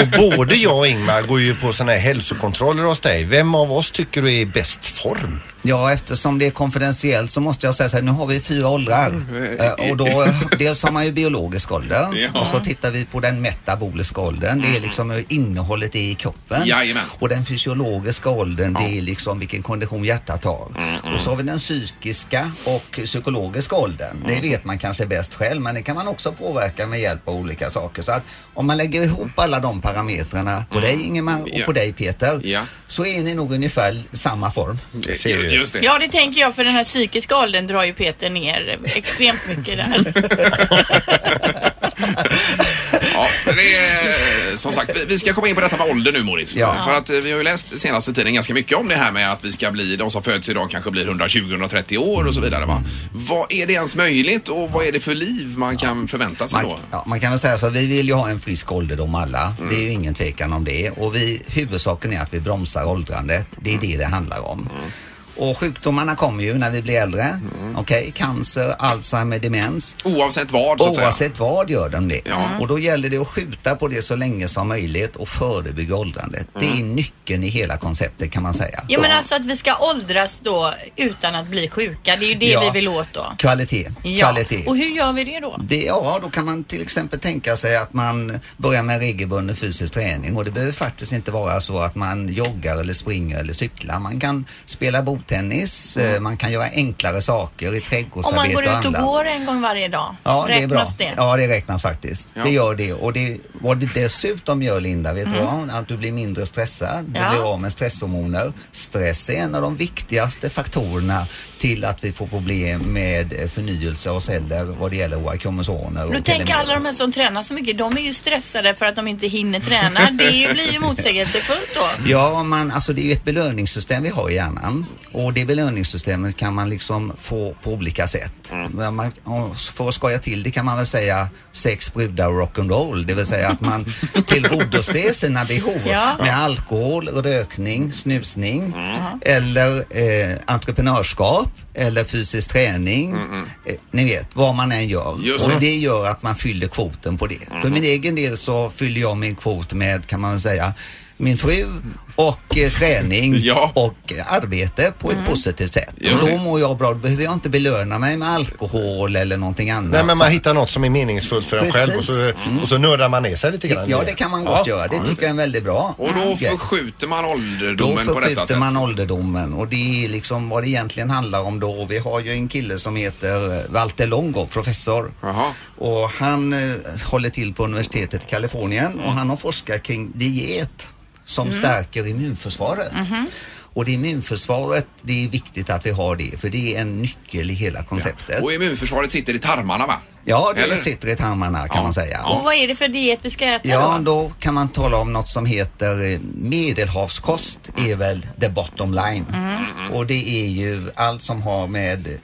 Speaker 5: Och både jag och Ingmar går ju på såna här hälsokontroller hos dig. Vem av oss tycker du är i bäst form?
Speaker 11: Ja, eftersom det är konfidentiellt så måste jag säga så här, nu har vi fyra åldrar. Eh, Och då, dels har man ju biologisk ålder
Speaker 3: Mm. Ja. Mm.
Speaker 11: och så tittar vi på den metaboliska åldern. Det är liksom hur innehållet är i kroppen.
Speaker 3: Jajamän.
Speaker 11: Och den fysiologiska åldern, det är liksom vilken kondition hjärtat har.
Speaker 3: mm.
Speaker 11: Och så har vi den psykiska och psykologiska åldern. Det
Speaker 3: Mm.
Speaker 11: vet man kanske bäst själv, men det kan man också påverka med hjälp av olika saker. Så att om man lägger ihop alla de parametrarna på
Speaker 3: Mm.
Speaker 11: dig Ingemar och på dig Peter, så är ni nog ungefär samma form.
Speaker 3: Just
Speaker 4: Ja, det tänker jag för den här psykiska åldern drar ju Peter ner extremt mycket där.
Speaker 3: Ja, men det är, som sagt, vi- vi ska komma in på detta med ålder nu Morris.
Speaker 11: Ja.
Speaker 3: För att eh, vi har ju läst senaste tiden ganska mycket om det här med att vi ska bli, de som föds idag kanske blir 120-130 år och så vidare va. Vad är det ens möjligt och vad är det för liv man kan förvänta sig då?
Speaker 11: Ja, man kan väl säga så, vi vill ju ha en frisk ålderdom alla.
Speaker 4: Mm.
Speaker 11: Det är ju ingen tvekan om det. Och vi, huvudsaken är att vi bromsar åldrandet. Det är
Speaker 4: Mm.
Speaker 11: det det handlar om. Och sjukdomarna kommer ju när vi blir äldre.
Speaker 4: Mm.
Speaker 11: Okej, cancer, Alzheimer, demens.
Speaker 3: Oavsett vad så att säga.
Speaker 11: Oavsett vad gör de det. Och då gäller det att skjuta på det så länge som möjligt och förebygga åldrandet. Det
Speaker 4: Mm.
Speaker 11: är nyckeln i hela konceptet kan man säga.
Speaker 4: Ja, men alltså att vi ska åldras då utan att bli sjuka. Det är ju det
Speaker 11: Ja.
Speaker 4: vi vill åt då.
Speaker 11: Kvalitet.
Speaker 4: Ja.
Speaker 11: Kvalitet.
Speaker 4: Och hur gör vi det då?
Speaker 11: Det, ja, då kan man till exempel tänka sig att man börjar med regelbunden fysisk träning och det behöver faktiskt inte vara så att man joggar eller springer eller cyklar. Man kan spela bordtennis, eh, man kan göra enklare saker i
Speaker 4: Mm. Om man
Speaker 11: trädgårdsarbete
Speaker 4: går ut och
Speaker 11: annat.
Speaker 4: går en gång varje dag,
Speaker 11: Ja, det är bra.
Speaker 4: räknas det?
Speaker 11: Ja, det räknas faktiskt.
Speaker 4: Ja.
Speaker 11: Det gör det. Och det, vad det dessutom gör, Linda, vet du
Speaker 4: Mm.
Speaker 11: vad? Att du blir mindre stressad.
Speaker 4: Ja.
Speaker 11: Du blir av med stresshormoner. Stress är en av de viktigaste faktorerna till att vi får problem med eh, förnyelse av celler vad det gäller våra kromosomer. och
Speaker 4: Du tänker
Speaker 11: telomerer.
Speaker 4: alla de här som tränar så mycket, de är ju stressade för att de inte hinner träna. Det är ju- blir ju motsägelsefullt då.
Speaker 11: Ja, man, alltså det är ju ett belöningssystem vi har i hjärnan och det belöningssystemet kan man liksom få på olika sätt.
Speaker 5: Mm.
Speaker 11: Men Man, och för att skoja till det kan man väl säga sex, brudar och rock'n'roll, det vill säga att man tillgodoser sina behov
Speaker 12: Ja.
Speaker 11: med alkohol, rökning, snusning
Speaker 5: Mm.
Speaker 11: eller eh, entreprenörskap eller fysisk träning. Eh, ni vet, vad man än gör.
Speaker 12: Just
Speaker 11: och
Speaker 12: det.
Speaker 11: det gör att man fyller kvoten på det. För min egen del så fyller jag min kvot med, kan man väl säga, min fru och eh, träning och eh, arbete på ett positivt sätt.
Speaker 5: Just
Speaker 11: Och
Speaker 5: det.
Speaker 11: då mår jag bra, då behöver jag inte belöna mig med alkohol eller någonting annat.
Speaker 5: Nej men man
Speaker 3: Alltså-
Speaker 11: Så-
Speaker 5: hittar något som är meningsfullt för en
Speaker 11: Precis.
Speaker 5: själv och så, Mm. och så nördar man ner sig lite grann. i
Speaker 11: Ja, det kan man gott
Speaker 5: Ja.
Speaker 11: göra. Det tycker jag är väldigt bra.
Speaker 3: Och då
Speaker 11: grej.
Speaker 3: förskjuter man
Speaker 11: Då
Speaker 3: ålderdomen på detta
Speaker 11: förskjuter
Speaker 3: sätt.
Speaker 11: man ålderdomen och det är liksom vad det egentligen handlar om då. Vi har ju en kille som heter eh, Walter Longo, professor. Och han eh, håller till på universitetet i Kalifornien och han har forskat kring diet som
Speaker 12: Mm.
Speaker 11: stärker immunförsvaret. Och det immunförsvaret, det är viktigt att vi har det för det är en nyckel i hela konceptet.
Speaker 3: Och immunförsvaret sitter i tarmarna va?
Speaker 11: Ja, det
Speaker 3: Eller?
Speaker 11: sitter i tarmarna kan man säga.
Speaker 4: Och vad är det för diet vi ska äta
Speaker 11: Ja,
Speaker 4: då?
Speaker 11: då kan man tala om något som heter eh, medelhavskost är väl the bottom line.
Speaker 12: Mm.
Speaker 11: Och det är ju allt som har med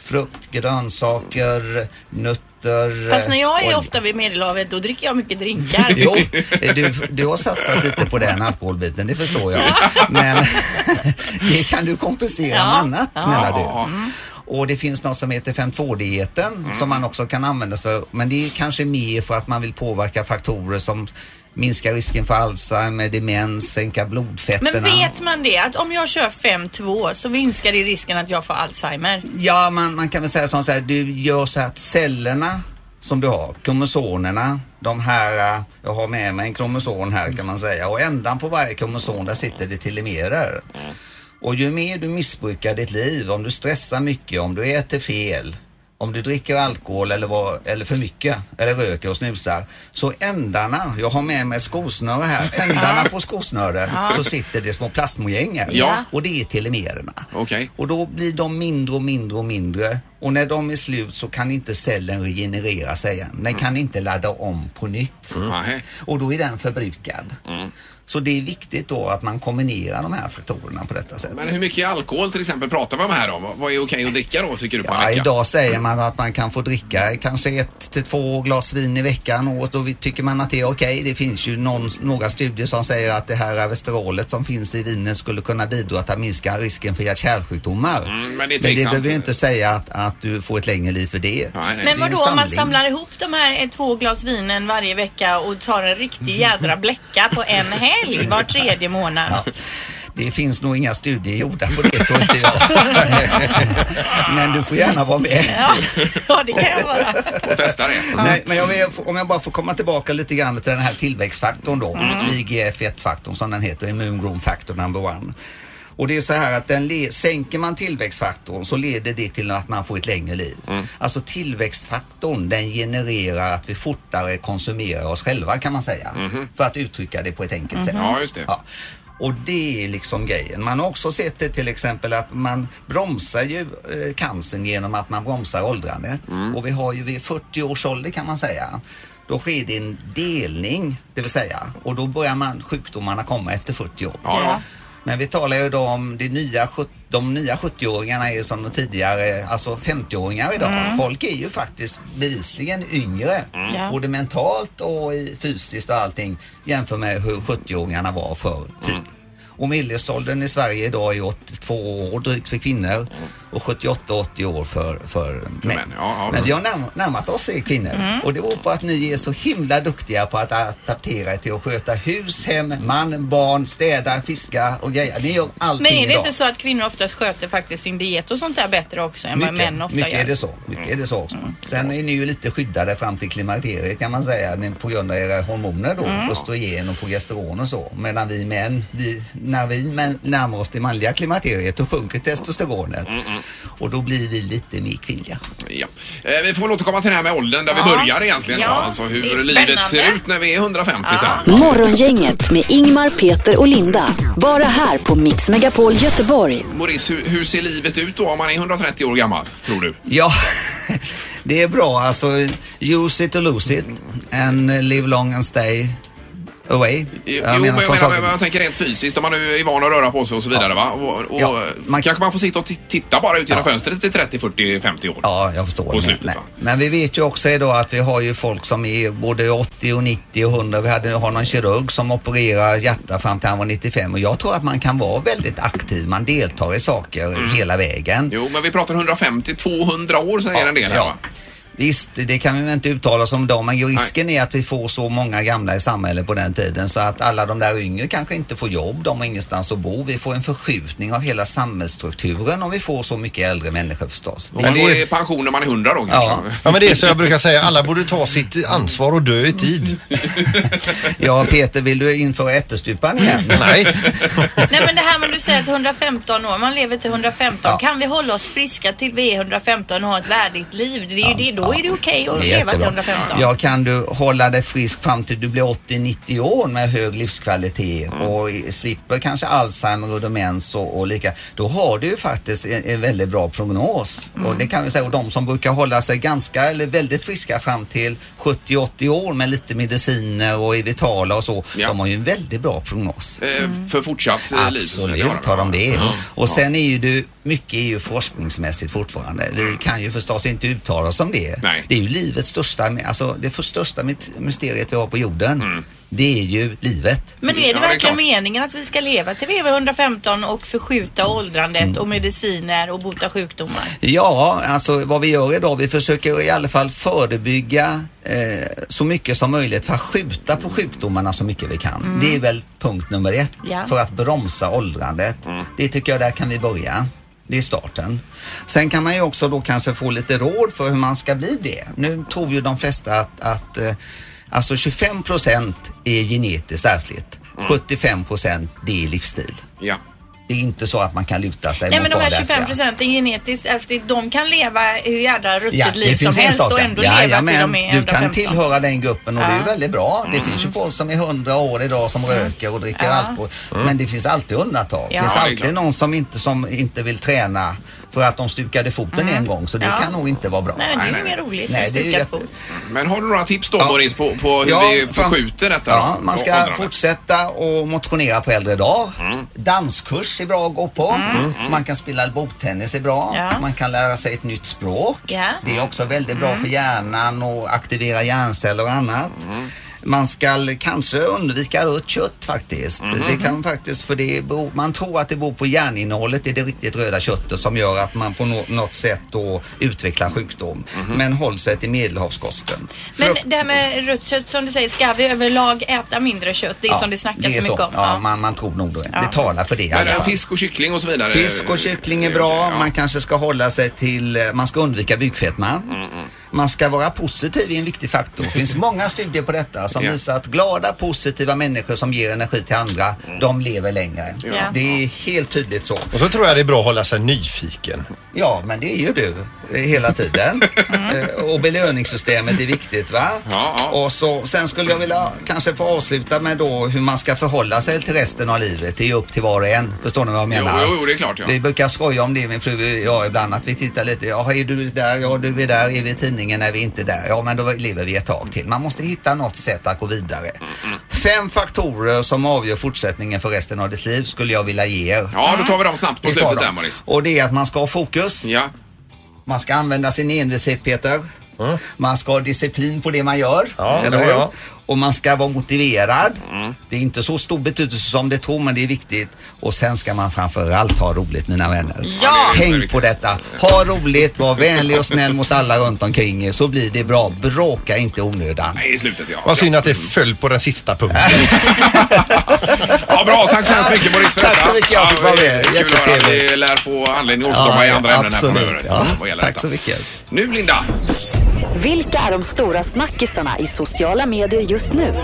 Speaker 11: frukt, grönsaker, nötter.
Speaker 4: Fast när jag är
Speaker 11: olja.
Speaker 4: ofta vid Medelhavet, då dricker jag mycket drinkar.
Speaker 11: Jo, eh, du, du har satsat lite på den alkoholbiten, det förstår jag. Men det kan du kompensera
Speaker 12: Ja,
Speaker 11: med annat,
Speaker 12: ja.
Speaker 11: snälla du.
Speaker 12: Ja. Mm.
Speaker 11: Och det finns något som heter 5.2-dieten som man också kan använda sig för. Men det är kanske mer för att man vill påverka faktorer som minskar risken för Alzheimer, demens, sänka blodfetterna.
Speaker 4: Men vet man det? Att om jag kör 5-2 så minskar det risken att jag får Alzheimer.
Speaker 11: Ja, man, man kan väl säga som så här, du gör så här att cellerna som du har, kromosonerna, de här, eh, jag har med mig en kromoson här kan man säga och ändan på varje kromoson där sitter det telemerer. Och ju mer du missbrukar ditt liv, om du stressar mycket, om du äter fel, om du dricker alkohol eller, var, eller för mycket, eller röker och snusar, så ändarna, jag har med mig skosnöre här, ändarna på skosnöret
Speaker 12: Ja.
Speaker 11: så sitter det små plastmojänger
Speaker 12: Ja.
Speaker 11: och det är telemererna. Och då blir de mindre och mindre och mindre och när de är slut så kan inte cellen regenerera sig igen. Den kan inte ladda om på nytt. Och då är den förbrukad.
Speaker 3: Mm.
Speaker 11: Så det är viktigt då att man kombinerar de här faktorerna på detta sätt.
Speaker 3: Men hur mycket alkohol till exempel pratar vi om här om? Vad är okej att dricka då tycker du på en
Speaker 11: Ja,
Speaker 3: vecka?
Speaker 11: idag säger man att man kan få dricka kanske ett till två glas vin i veckan och då vi- tycker man att det är okej. Det finns ju någon, några studier som säger att det här avesterolet som finns i vinen skulle kunna bidra till att minska risken för hjärt-kärlsjukdomar.
Speaker 3: Mm,
Speaker 11: men
Speaker 3: men
Speaker 11: det,
Speaker 3: det är tveksamt.
Speaker 11: behöver ju inte säga att, att du får ett längre liv för det. Det är ju
Speaker 4: Men vadå om man
Speaker 11: samling.
Speaker 4: samlar ihop de här eh, två glas vinen varje vecka och tar en riktig jädra bläcka på en helg var tredje månad?
Speaker 11: det finns nog inga studier gjorda på det tror inte jag. Men du får gärna vara med.
Speaker 4: Ja, det kan jag vara.
Speaker 3: Och testa det.
Speaker 11: Nej, men jag vill, om jag bara får komma tillbaka lite grann till den här tillväxtfaktorn då.
Speaker 3: Mm.
Speaker 11: IGF-1-faktorn som den heter, Immune Room Factor number one. Och det är så här att den le- sänker man tillväxtfaktorn så leder det till att man får ett längre liv.
Speaker 3: Mm.
Speaker 11: Alltså tillväxtfaktorn den genererar att vi fortare konsumerar oss själva kan man säga. För att uttrycka det på ett enkelt sätt.
Speaker 3: Mhm. Ja, just det.
Speaker 11: Ja. Och det är liksom grejen. Man har också sett det till exempel att man bromsar ju eh, cancern genom att man bromsar åldrandet.
Speaker 12: Mm.
Speaker 11: Och vi har ju vid 40 års ålder kan man säga. Då sker det en delning, det vill säga. Och då börjar man sjukdomarna komma efter 40 år. Men vi talar ju då om det nya, sjut- de nya 70-åringarna är som de tidigare, alltså 50-åringar idag.
Speaker 12: Mm.
Speaker 11: Folk är ju faktiskt bevisligen yngre,
Speaker 12: Mm. Ja.
Speaker 11: både mentalt och i- fysiskt och allting jämfört med hur 70-åringarna var förr i tiden. Och medelåldern i Sverige idag är 82 år drygt för kvinnor och 78-80 år för, för män. Men vi har närm- närmat oss er kvinnor
Speaker 12: Mm.
Speaker 11: och det beror på att ni är så himla duktiga på att adaptera er till att sköta hus, hem, man, barn, städa, fiska och grejer. Ni gör allting
Speaker 4: Men är det
Speaker 11: idag.
Speaker 4: inte så att kvinnor oftast sköter faktiskt sin diet och sånt där bättre också än vad
Speaker 11: mycket,
Speaker 4: män ofta
Speaker 11: mycket
Speaker 4: gör? Mm.
Speaker 11: är det så. Mycket är det så också. Sen är ni ju lite skyddade fram till klimakteriet kan man säga ni- på grund av era hormoner då,
Speaker 12: Mm.
Speaker 11: östrogen och progesteron och så. Medan vi män, vi, när vi män närmar oss det manliga klimakteriet då sjunker testosteronet
Speaker 3: Mm,
Speaker 11: och då blir vi lite mer kvinnliga.
Speaker 3: Ja. Eh, Vi får väl återkomma till det här med åldern där vi
Speaker 11: Ja.
Speaker 3: börjar egentligen.
Speaker 11: Ja,
Speaker 3: Alltså
Speaker 11: det
Speaker 3: hur
Speaker 11: är
Speaker 3: livet ser
Speaker 11: spännande.
Speaker 3: ut när vi är 150 sen.
Speaker 1: Morgongänget med Ingmar, Peter och Linda. Bara här på Mix Megapol Göteborg.
Speaker 3: Maurice, hur, hur ser livet ut då om man är 130 år gammal, tror du?
Speaker 11: Ja, det är bra alltså. Use it or lose it and live long and stay away.
Speaker 3: Jo,
Speaker 11: Jag
Speaker 3: men jag,
Speaker 11: menar, från
Speaker 3: menar,
Speaker 11: saker-
Speaker 3: men jag tänker rent fysiskt, om man nu är van att röra på sig och så vidare. Va? Och, och, Kanske man får sitta och ti- titta bara ut genom fönstret i 30, 40, 50 år.
Speaker 11: Ja, jag förstår.
Speaker 3: På
Speaker 11: Men-
Speaker 3: slutet,
Speaker 11: nej.
Speaker 3: va?
Speaker 11: Men vi vet ju också idag att vi har ju folk som är både 80 och 90 och 100. Vi hade, har någon kirurg som opererar hjärta fram till han var 95 och jag tror att man kan vara väldigt aktiv. Man deltar i saker hela vägen.
Speaker 3: Mm. Jo, men vi pratar 150-200 år säger en del. här, va?
Speaker 11: Visst, det kan vi väl inte uttala oss om idag men risken är att vi får så många gamla i samhället på den tiden så att alla de där yngre kanske inte får jobb, de har ingenstans att bo. Vi får en förskjutning av hela samhällsstrukturen om vi får så mycket äldre människor förstås.
Speaker 3: Om man går i pension när man är 100 då
Speaker 11: Ja.
Speaker 5: Ja men det är så jag brukar säga, alla borde ta sitt ansvar och dö i tid.
Speaker 11: ja Peter, vill du införa ättestupan igen?
Speaker 5: Nej.
Speaker 4: Nej men det här med du säger att 115 år, man lever till 115. Kan vi hålla oss friska till vi är 115 och ha ett värdigt liv? Det är ju det, då är det okej att
Speaker 11: Det är
Speaker 4: leva till
Speaker 11: jättebra.
Speaker 4: 115.
Speaker 11: Ja, kan du hålla dig frisk fram till du blir 80-90 år med hög livskvalitet och i- slipper kanske Alzheimer och demens och, och lika, då har du ju faktiskt en, en väldigt bra prognos. Och det kan vi säga, och de som brukar hålla sig ganska eller väldigt friska fram till 70-80 år med lite mediciner och är vitala och så, de har ju en väldigt bra prognos.
Speaker 3: Eh, För fortsatt eh, liv. så att säga.
Speaker 11: Absolut har de det. Och sen är ju du, mycket är ju forskningsmässigt fortfarande. Vi kan ju förstås inte uttala oss om det. Det är ju livets största, alltså det för största mit- mysteriet vi har på jorden.
Speaker 3: Mm.
Speaker 11: Det är ju livet.
Speaker 4: Men är det verkligen meningen att vi ska leva till vi är 115 och förskjuta
Speaker 11: Mm.
Speaker 4: åldrandet och mediciner och bota sjukdomar?
Speaker 11: Ja, alltså vad vi gör idag, vi försöker i alla fall förebygga eh, så mycket som möjligt för att skjuta på sjukdomarna så mycket vi kan.
Speaker 12: Mm.
Speaker 11: Det är väl punkt nummer ett
Speaker 12: Ja.
Speaker 11: för att bromsa åldrandet.
Speaker 4: Mm.
Speaker 11: Det tycker jag, där kan vi börja. Det är starten. Sen kan man ju också då kanske få lite råd för hur man ska bli det. Nu tror ju de flesta att, att eh, alltså 25 procent är genetiskt ärftligt.
Speaker 4: Mm.
Speaker 11: 75 procent det är livsstil.
Speaker 3: Ja.
Speaker 11: Det är inte så att man kan luta sig
Speaker 4: Nej
Speaker 11: mot
Speaker 4: men de
Speaker 11: bara
Speaker 4: här
Speaker 11: det
Speaker 4: 25
Speaker 11: ärftliga.
Speaker 4: procenten genetiskt ärftligt, de kan leva hur jädra ruttet liv som
Speaker 11: finns
Speaker 4: helst och
Speaker 11: enstaka.
Speaker 4: ändå
Speaker 11: Ja,
Speaker 4: leva
Speaker 11: ja, men
Speaker 4: till de är
Speaker 11: Du kan
Speaker 4: 115.
Speaker 11: tillhöra den gruppen och det är ju
Speaker 4: Ja. Mm.
Speaker 11: väldigt bra. Det finns ju folk som är 100 år idag som röker och dricker
Speaker 4: Ja.
Speaker 11: alkohol. Men det finns alltid undantag.
Speaker 4: Ja.
Speaker 11: Det finns
Speaker 4: Ja, det är
Speaker 11: alltid någon som inte, som inte vill träna för att de stukade foten
Speaker 4: Mm.
Speaker 11: en gång. Så det
Speaker 3: Ja.
Speaker 11: kan nog inte vara bra.
Speaker 3: Nej, det är ju Nej, nej. mer
Speaker 4: roligt
Speaker 11: Nej,
Speaker 3: än
Speaker 11: det är ju
Speaker 3: stukad
Speaker 11: jätte-
Speaker 3: Men har du några tips då Maurice på, på hur
Speaker 11: Ja,
Speaker 3: vi
Speaker 11: fan.
Speaker 3: förskjuter detta?
Speaker 11: Ja,
Speaker 3: då?
Speaker 11: man ska
Speaker 3: Åldrandet.
Speaker 11: fortsätta och motionera på äldre dag.
Speaker 3: Mm.
Speaker 11: Danskurs är bra att gå på.
Speaker 12: Mm. Mm.
Speaker 11: Man kan spela bordtennis är bra.
Speaker 12: Ja.
Speaker 11: Man kan lära sig ett nytt språk.
Speaker 12: Ja. Mm.
Speaker 3: Mm,
Speaker 11: Det är också väldigt bra för hjärnan och aktivera hjärnceller och annat. Man ska kanske undvika rött kött faktiskt.
Speaker 3: Mm,
Speaker 12: Mhm.
Speaker 11: Det kan faktiskt, för det beror, man tror att det beror på järninnehållet i det riktigt röda köttet som gör att man på nå- något sätt då utvecklar sjukdom.
Speaker 3: Mm,
Speaker 11: Men håll sig till medelhavskosten.
Speaker 4: Men det här med rött kött som du säger, ska vi överlag äta mindre kött? Det är som det snackas
Speaker 11: är
Speaker 4: så mycket om.
Speaker 11: Ja, man, man tror nog det. Det talar för det i
Speaker 3: Men
Speaker 11: alla
Speaker 3: eh,
Speaker 11: fall.
Speaker 3: fisk och kyckling och så vidare.
Speaker 11: Fisk och kyckling är bra. Man kanske ska hålla sig till, eh, man ska undvika bukfetma. Man ska vara positiv är en viktig faktor. Det finns många studier på detta som
Speaker 12: Ja.
Speaker 11: visar att glada, positiva människor som ger energi till andra, de lever längre.
Speaker 5: Ja.
Speaker 11: Det är helt tydligt så.
Speaker 5: Och så tror jag det är bra att hålla sig nyfiken.
Speaker 11: Ja, men det är ju du eh, hela tiden.
Speaker 3: Mm.
Speaker 11: Eh, Och belöningssystemet är viktigt va? Och så, sen skulle jag vilja kanske få avsluta med då hur man ska förhålla sig till resten av livet. Det är ju upp till var och en. Förstår ni vad jag
Speaker 3: Jo,
Speaker 11: menar?
Speaker 3: jo, jo, det är klart, ja.
Speaker 11: Vi brukar skoja om det min fru och jag ibland att vi tittar lite. Ja, är du där? Ja, du är där. Är vi i tidningen? Är vi inte där? Ja, men då lever vi ett tag till. Man måste hitta något sätt att gå vidare.
Speaker 3: Mm,
Speaker 11: Fem faktorer som avgör fortsättningen för resten av ditt liv skulle jag vilja ge er.
Speaker 3: Ja, då tar vi dem snabbt på
Speaker 11: Vi tar
Speaker 3: slutet
Speaker 11: dem.
Speaker 3: där, Maurice.
Speaker 11: Och det är att man ska ha fokus. Man ska använda sin envishet Peter. Man ska ha disciplin på det man gör.
Speaker 5: Ja, det har
Speaker 11: hur?
Speaker 5: jag. Mm.
Speaker 11: Och man ska vara motiverad. Det är inte så stor betydelse som det tror men det är viktigt. Och sen ska man framförallt ha roligt mina vänner.
Speaker 12: Ja!
Speaker 11: Tänk på detta. Ha roligt, var vänlig och snäll mot alla runt omkring er så blir det bra. Bråka inte i onödan.
Speaker 3: I slutet, ja.
Speaker 5: Vad synd att det föll på den sista punkten.
Speaker 3: Ja, bra. Tack så hemskt mycket Boris för
Speaker 11: Tack så mycket, jag fick vara med.
Speaker 3: Kul att höra att vi lär få anledning att återkomma
Speaker 11: Ja,
Speaker 3: i andra ämnen här
Speaker 11: absolut,
Speaker 3: framöver.
Speaker 11: ja.
Speaker 3: Vad gäller detta.
Speaker 11: Tack så mycket.
Speaker 3: Nu Linda.
Speaker 1: Vilka är de stora snackisarna i sociala medier just nu?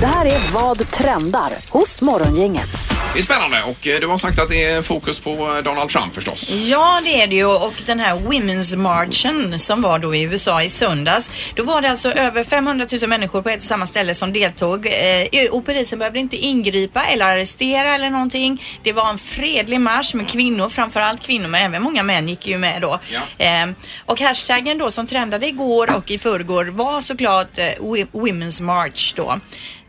Speaker 1: Det här är Vad trendar hos Morgongänget.
Speaker 3: Det är spännande och eh, du har sagt att det är fokus på eh, Donald Trump förstås.
Speaker 4: Ja, det är det ju. Och den här Women's Marchen som var då i USA i söndags. Då var det alltså över 500 000 människor på ett och samma ställe som deltog. Eh, och polisen behövde inte ingripa eller arrestera eller någonting. Det var en fredlig marsch med kvinnor, framförallt kvinnor, men även många män gick ju med då.
Speaker 12: Ja.
Speaker 4: Eh, och hashtaggen då som trendade igår och i förrgår var såklart eh, Wi- Women's March då.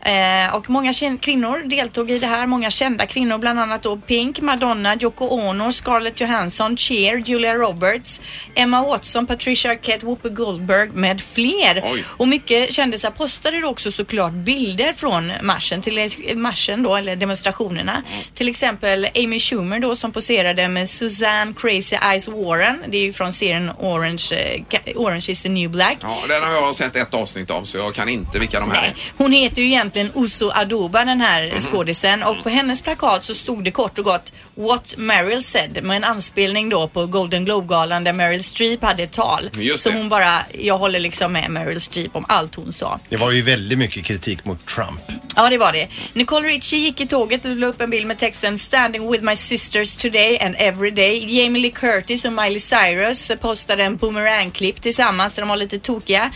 Speaker 4: Eh, och många kän- kvinnor deltog i det här. Många kända kvinnor, bland annat då Pink, Madonna, Yoko Ono, Scarlett Johansson, Cher, Julia Roberts, Emma Watson, Patricia Arquette, Whoopi Goldberg med fler.
Speaker 12: Oj.
Speaker 4: Och mycket kändisar postade då också såklart bilder från marschen, till, marschen då, eller demonstrationerna.
Speaker 5: Mm.
Speaker 4: Till exempel Amy Schumer då som poserade med Suzanne Crazy Eyes Warren. Det är ju från serien Orange, eh, Ka- Orange is the new black.
Speaker 3: Ja, den har jag sett ett avsnitt av så jag kan inte vilka de här är.
Speaker 4: Hon heter ju egentligen Uso Aduba den här
Speaker 5: Mm-hmm.
Speaker 4: skådisen och på hennes plakat så stod det kort och gott What Meryl said med en anspelning då på Golden Globe-galan där Meryl Streep hade ett tal.
Speaker 5: Just
Speaker 4: så
Speaker 5: det.
Speaker 4: hon bara, jag håller liksom med Meryl Streep om allt hon sa.
Speaker 5: Det var ju väldigt mycket kritik mot Trump.
Speaker 4: Ja, det var det. Nicole Richie gick i tåget och la upp en bild med texten “Standing with my sisters today and every day”. Jamie Lee Curtis och Miley Cyrus postade en boomerang-klipp tillsammans där de var lite tokiga.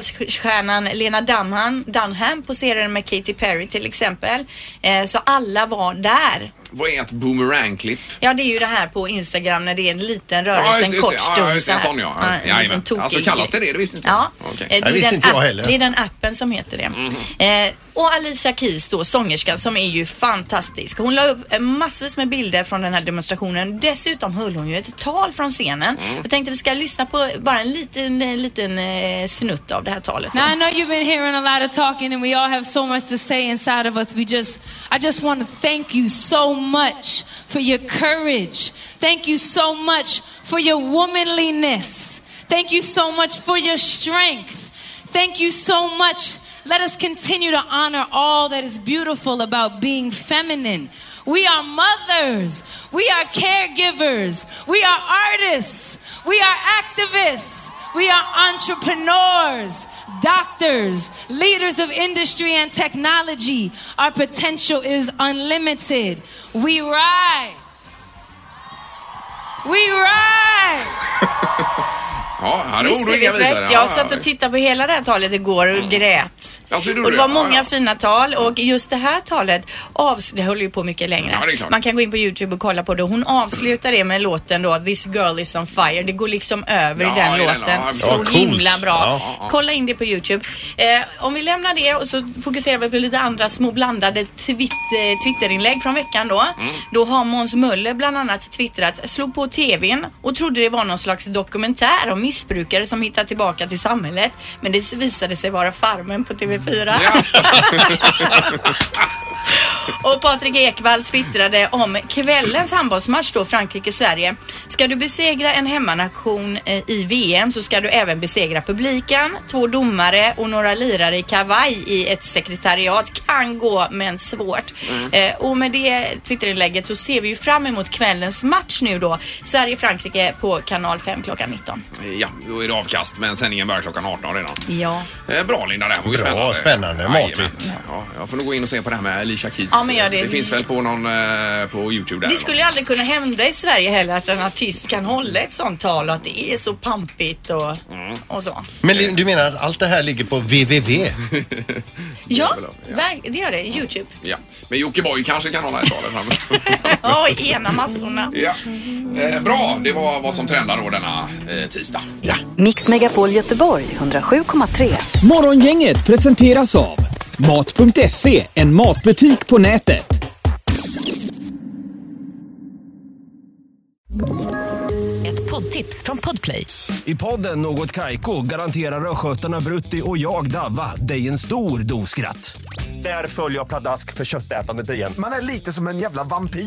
Speaker 4: Girls-stjärnan Lena Dunham, Dunham poserade med Katy Perry till exempel. Eh, så alla var där.
Speaker 3: Vad är ett boomerang-klipp?
Speaker 4: Ja, det är ju det här på Instagram när det är en liten
Speaker 3: Ja,
Speaker 4: rörelse,
Speaker 3: just det,
Speaker 4: en
Speaker 3: just
Speaker 4: kort
Speaker 3: det.
Speaker 4: stund.
Speaker 3: Ja, just det, en
Speaker 4: så här.
Speaker 3: sån, ja.
Speaker 4: en
Speaker 3: Ja,
Speaker 4: liten
Speaker 3: jajamän.
Speaker 4: tokig
Speaker 3: Alltså, kallas det det? Det visste inte
Speaker 4: Ja.
Speaker 3: jag. Okej. Mhm.
Speaker 4: Eh, det
Speaker 3: Nej,
Speaker 4: är
Speaker 3: visste
Speaker 4: den
Speaker 3: inte jag
Speaker 4: app-
Speaker 3: heller.
Speaker 4: Det är den appen som heter det. Eh, och Alicia Keys då, sångerskan som är ju fantastisk. Hon la upp eh, massvis med bilder från den här demonstrationen. Dessutom höll hon ju ett tal från scenen.
Speaker 12: Mm.
Speaker 4: Jag tänkte vi ska lyssna på bara en liten, eh, liten eh, snutt av det här talet. då.
Speaker 13: Now I know you've been hearing a lot of talking and we all have so much to say inside of us. We just I just want to thank you so much for your courage. Thank you so much for your womanliness. Thank you so much for your strength. Thank you so much. Let us continue to honor all that is beautiful about being feminine. We are mothers. We are caregivers. We are artists. We are activists. We are entrepreneurs, doctors, leaders of industry and technology. Our potential is unlimited. We rise. We rise.
Speaker 3: Ja, han är ord och
Speaker 4: Visst är
Speaker 3: inga
Speaker 4: det fräckt?
Speaker 3: visare.
Speaker 4: Jag satt och tittade på hela det här talet igår och grät.
Speaker 3: Alltså, gjorde
Speaker 4: och det
Speaker 3: du
Speaker 4: var
Speaker 3: det?
Speaker 4: många
Speaker 3: Mm. Ja, ja.
Speaker 4: fina tal och just det här talet avs- det höll ju på mycket längre.
Speaker 3: Ja, det är klart.
Speaker 4: Man kan gå in på Youtube och kolla på det. Hon avslutar det med låten då This girl is on fire. Det går liksom över
Speaker 12: Ja,
Speaker 4: i den
Speaker 12: i den,
Speaker 4: låten.
Speaker 12: ja,
Speaker 4: så
Speaker 12: ja, coolt.
Speaker 4: himla bra.
Speaker 12: Ja, ja.
Speaker 4: Kolla in det på Youtube. Eh, om vi lämnar det och så fokuserar vi på lite andra små blandade twitter, twitterinlägg från veckan då.
Speaker 12: Mm.
Speaker 4: Då har Måns Möller bland annat twittrat, slog på tvn och trodde det var någon slags dokumentär om miss missbrukare som hittar tillbaka till samhället. Men det visade sig vara Farmen på TV4. Och Patrik Ekwall twittrade om kvällens handbollsmatch då Frankrike-Sverige. Ska du besegra en hemmanation eh, i VM så ska du även besegra publiken. Två domare och några lirare i kavaj i ett sekretariat kan gå men svårt.
Speaker 12: Mm.
Speaker 4: Eh, Och med det twitterinlägget så ser vi ju fram emot kvällens match nu då. Sverige-Frankrike på kanal 5 klockan 19.
Speaker 3: Ja, då är det avkast, men sändningen börjar klockan 18 redan.
Speaker 4: Ja.
Speaker 3: Eh, Bra Linda, det här var ju
Speaker 5: Bra,
Speaker 3: spännande.
Speaker 5: spännande,
Speaker 3: Jajamän.
Speaker 5: matigt.
Speaker 3: Ja, jag får nog gå in och se på det här med Alicia Keys.
Speaker 4: Ja, men gör det.
Speaker 3: det finns väl på någon eh, på Youtube där.
Speaker 4: Det skulle ju aldrig kunna hända i Sverige heller att en artist kan hålla ett sånt tal och att det är så pampigt och, och så.
Speaker 5: Men li- du menar att allt det här ligger på www?
Speaker 4: Ja, verk- det gör det. Youtube.
Speaker 3: Ja. Men Jocke Boy kanske kan hålla ett tal fram.
Speaker 4: Ja, i ena massorna.
Speaker 3: ja. eh, bra, det var vad som trendar då denna eh, tisdag. Ja.
Speaker 1: Mix Megapol Göteborg 107,3.
Speaker 2: Morgongänget presenteras av Mat.se, en matbutik på nätet.
Speaker 14: Ett poddtips från Podplay. I podden Något Kaiko garanterar östgötarna Brutti och jag, Davva, dig en stor dos skratt. Där följer jag pladask för köttätandet igen.
Speaker 15: Man är lite som en jävla vampyr.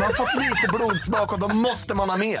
Speaker 15: Man har fått lite blodsmak och då måste man ha mer.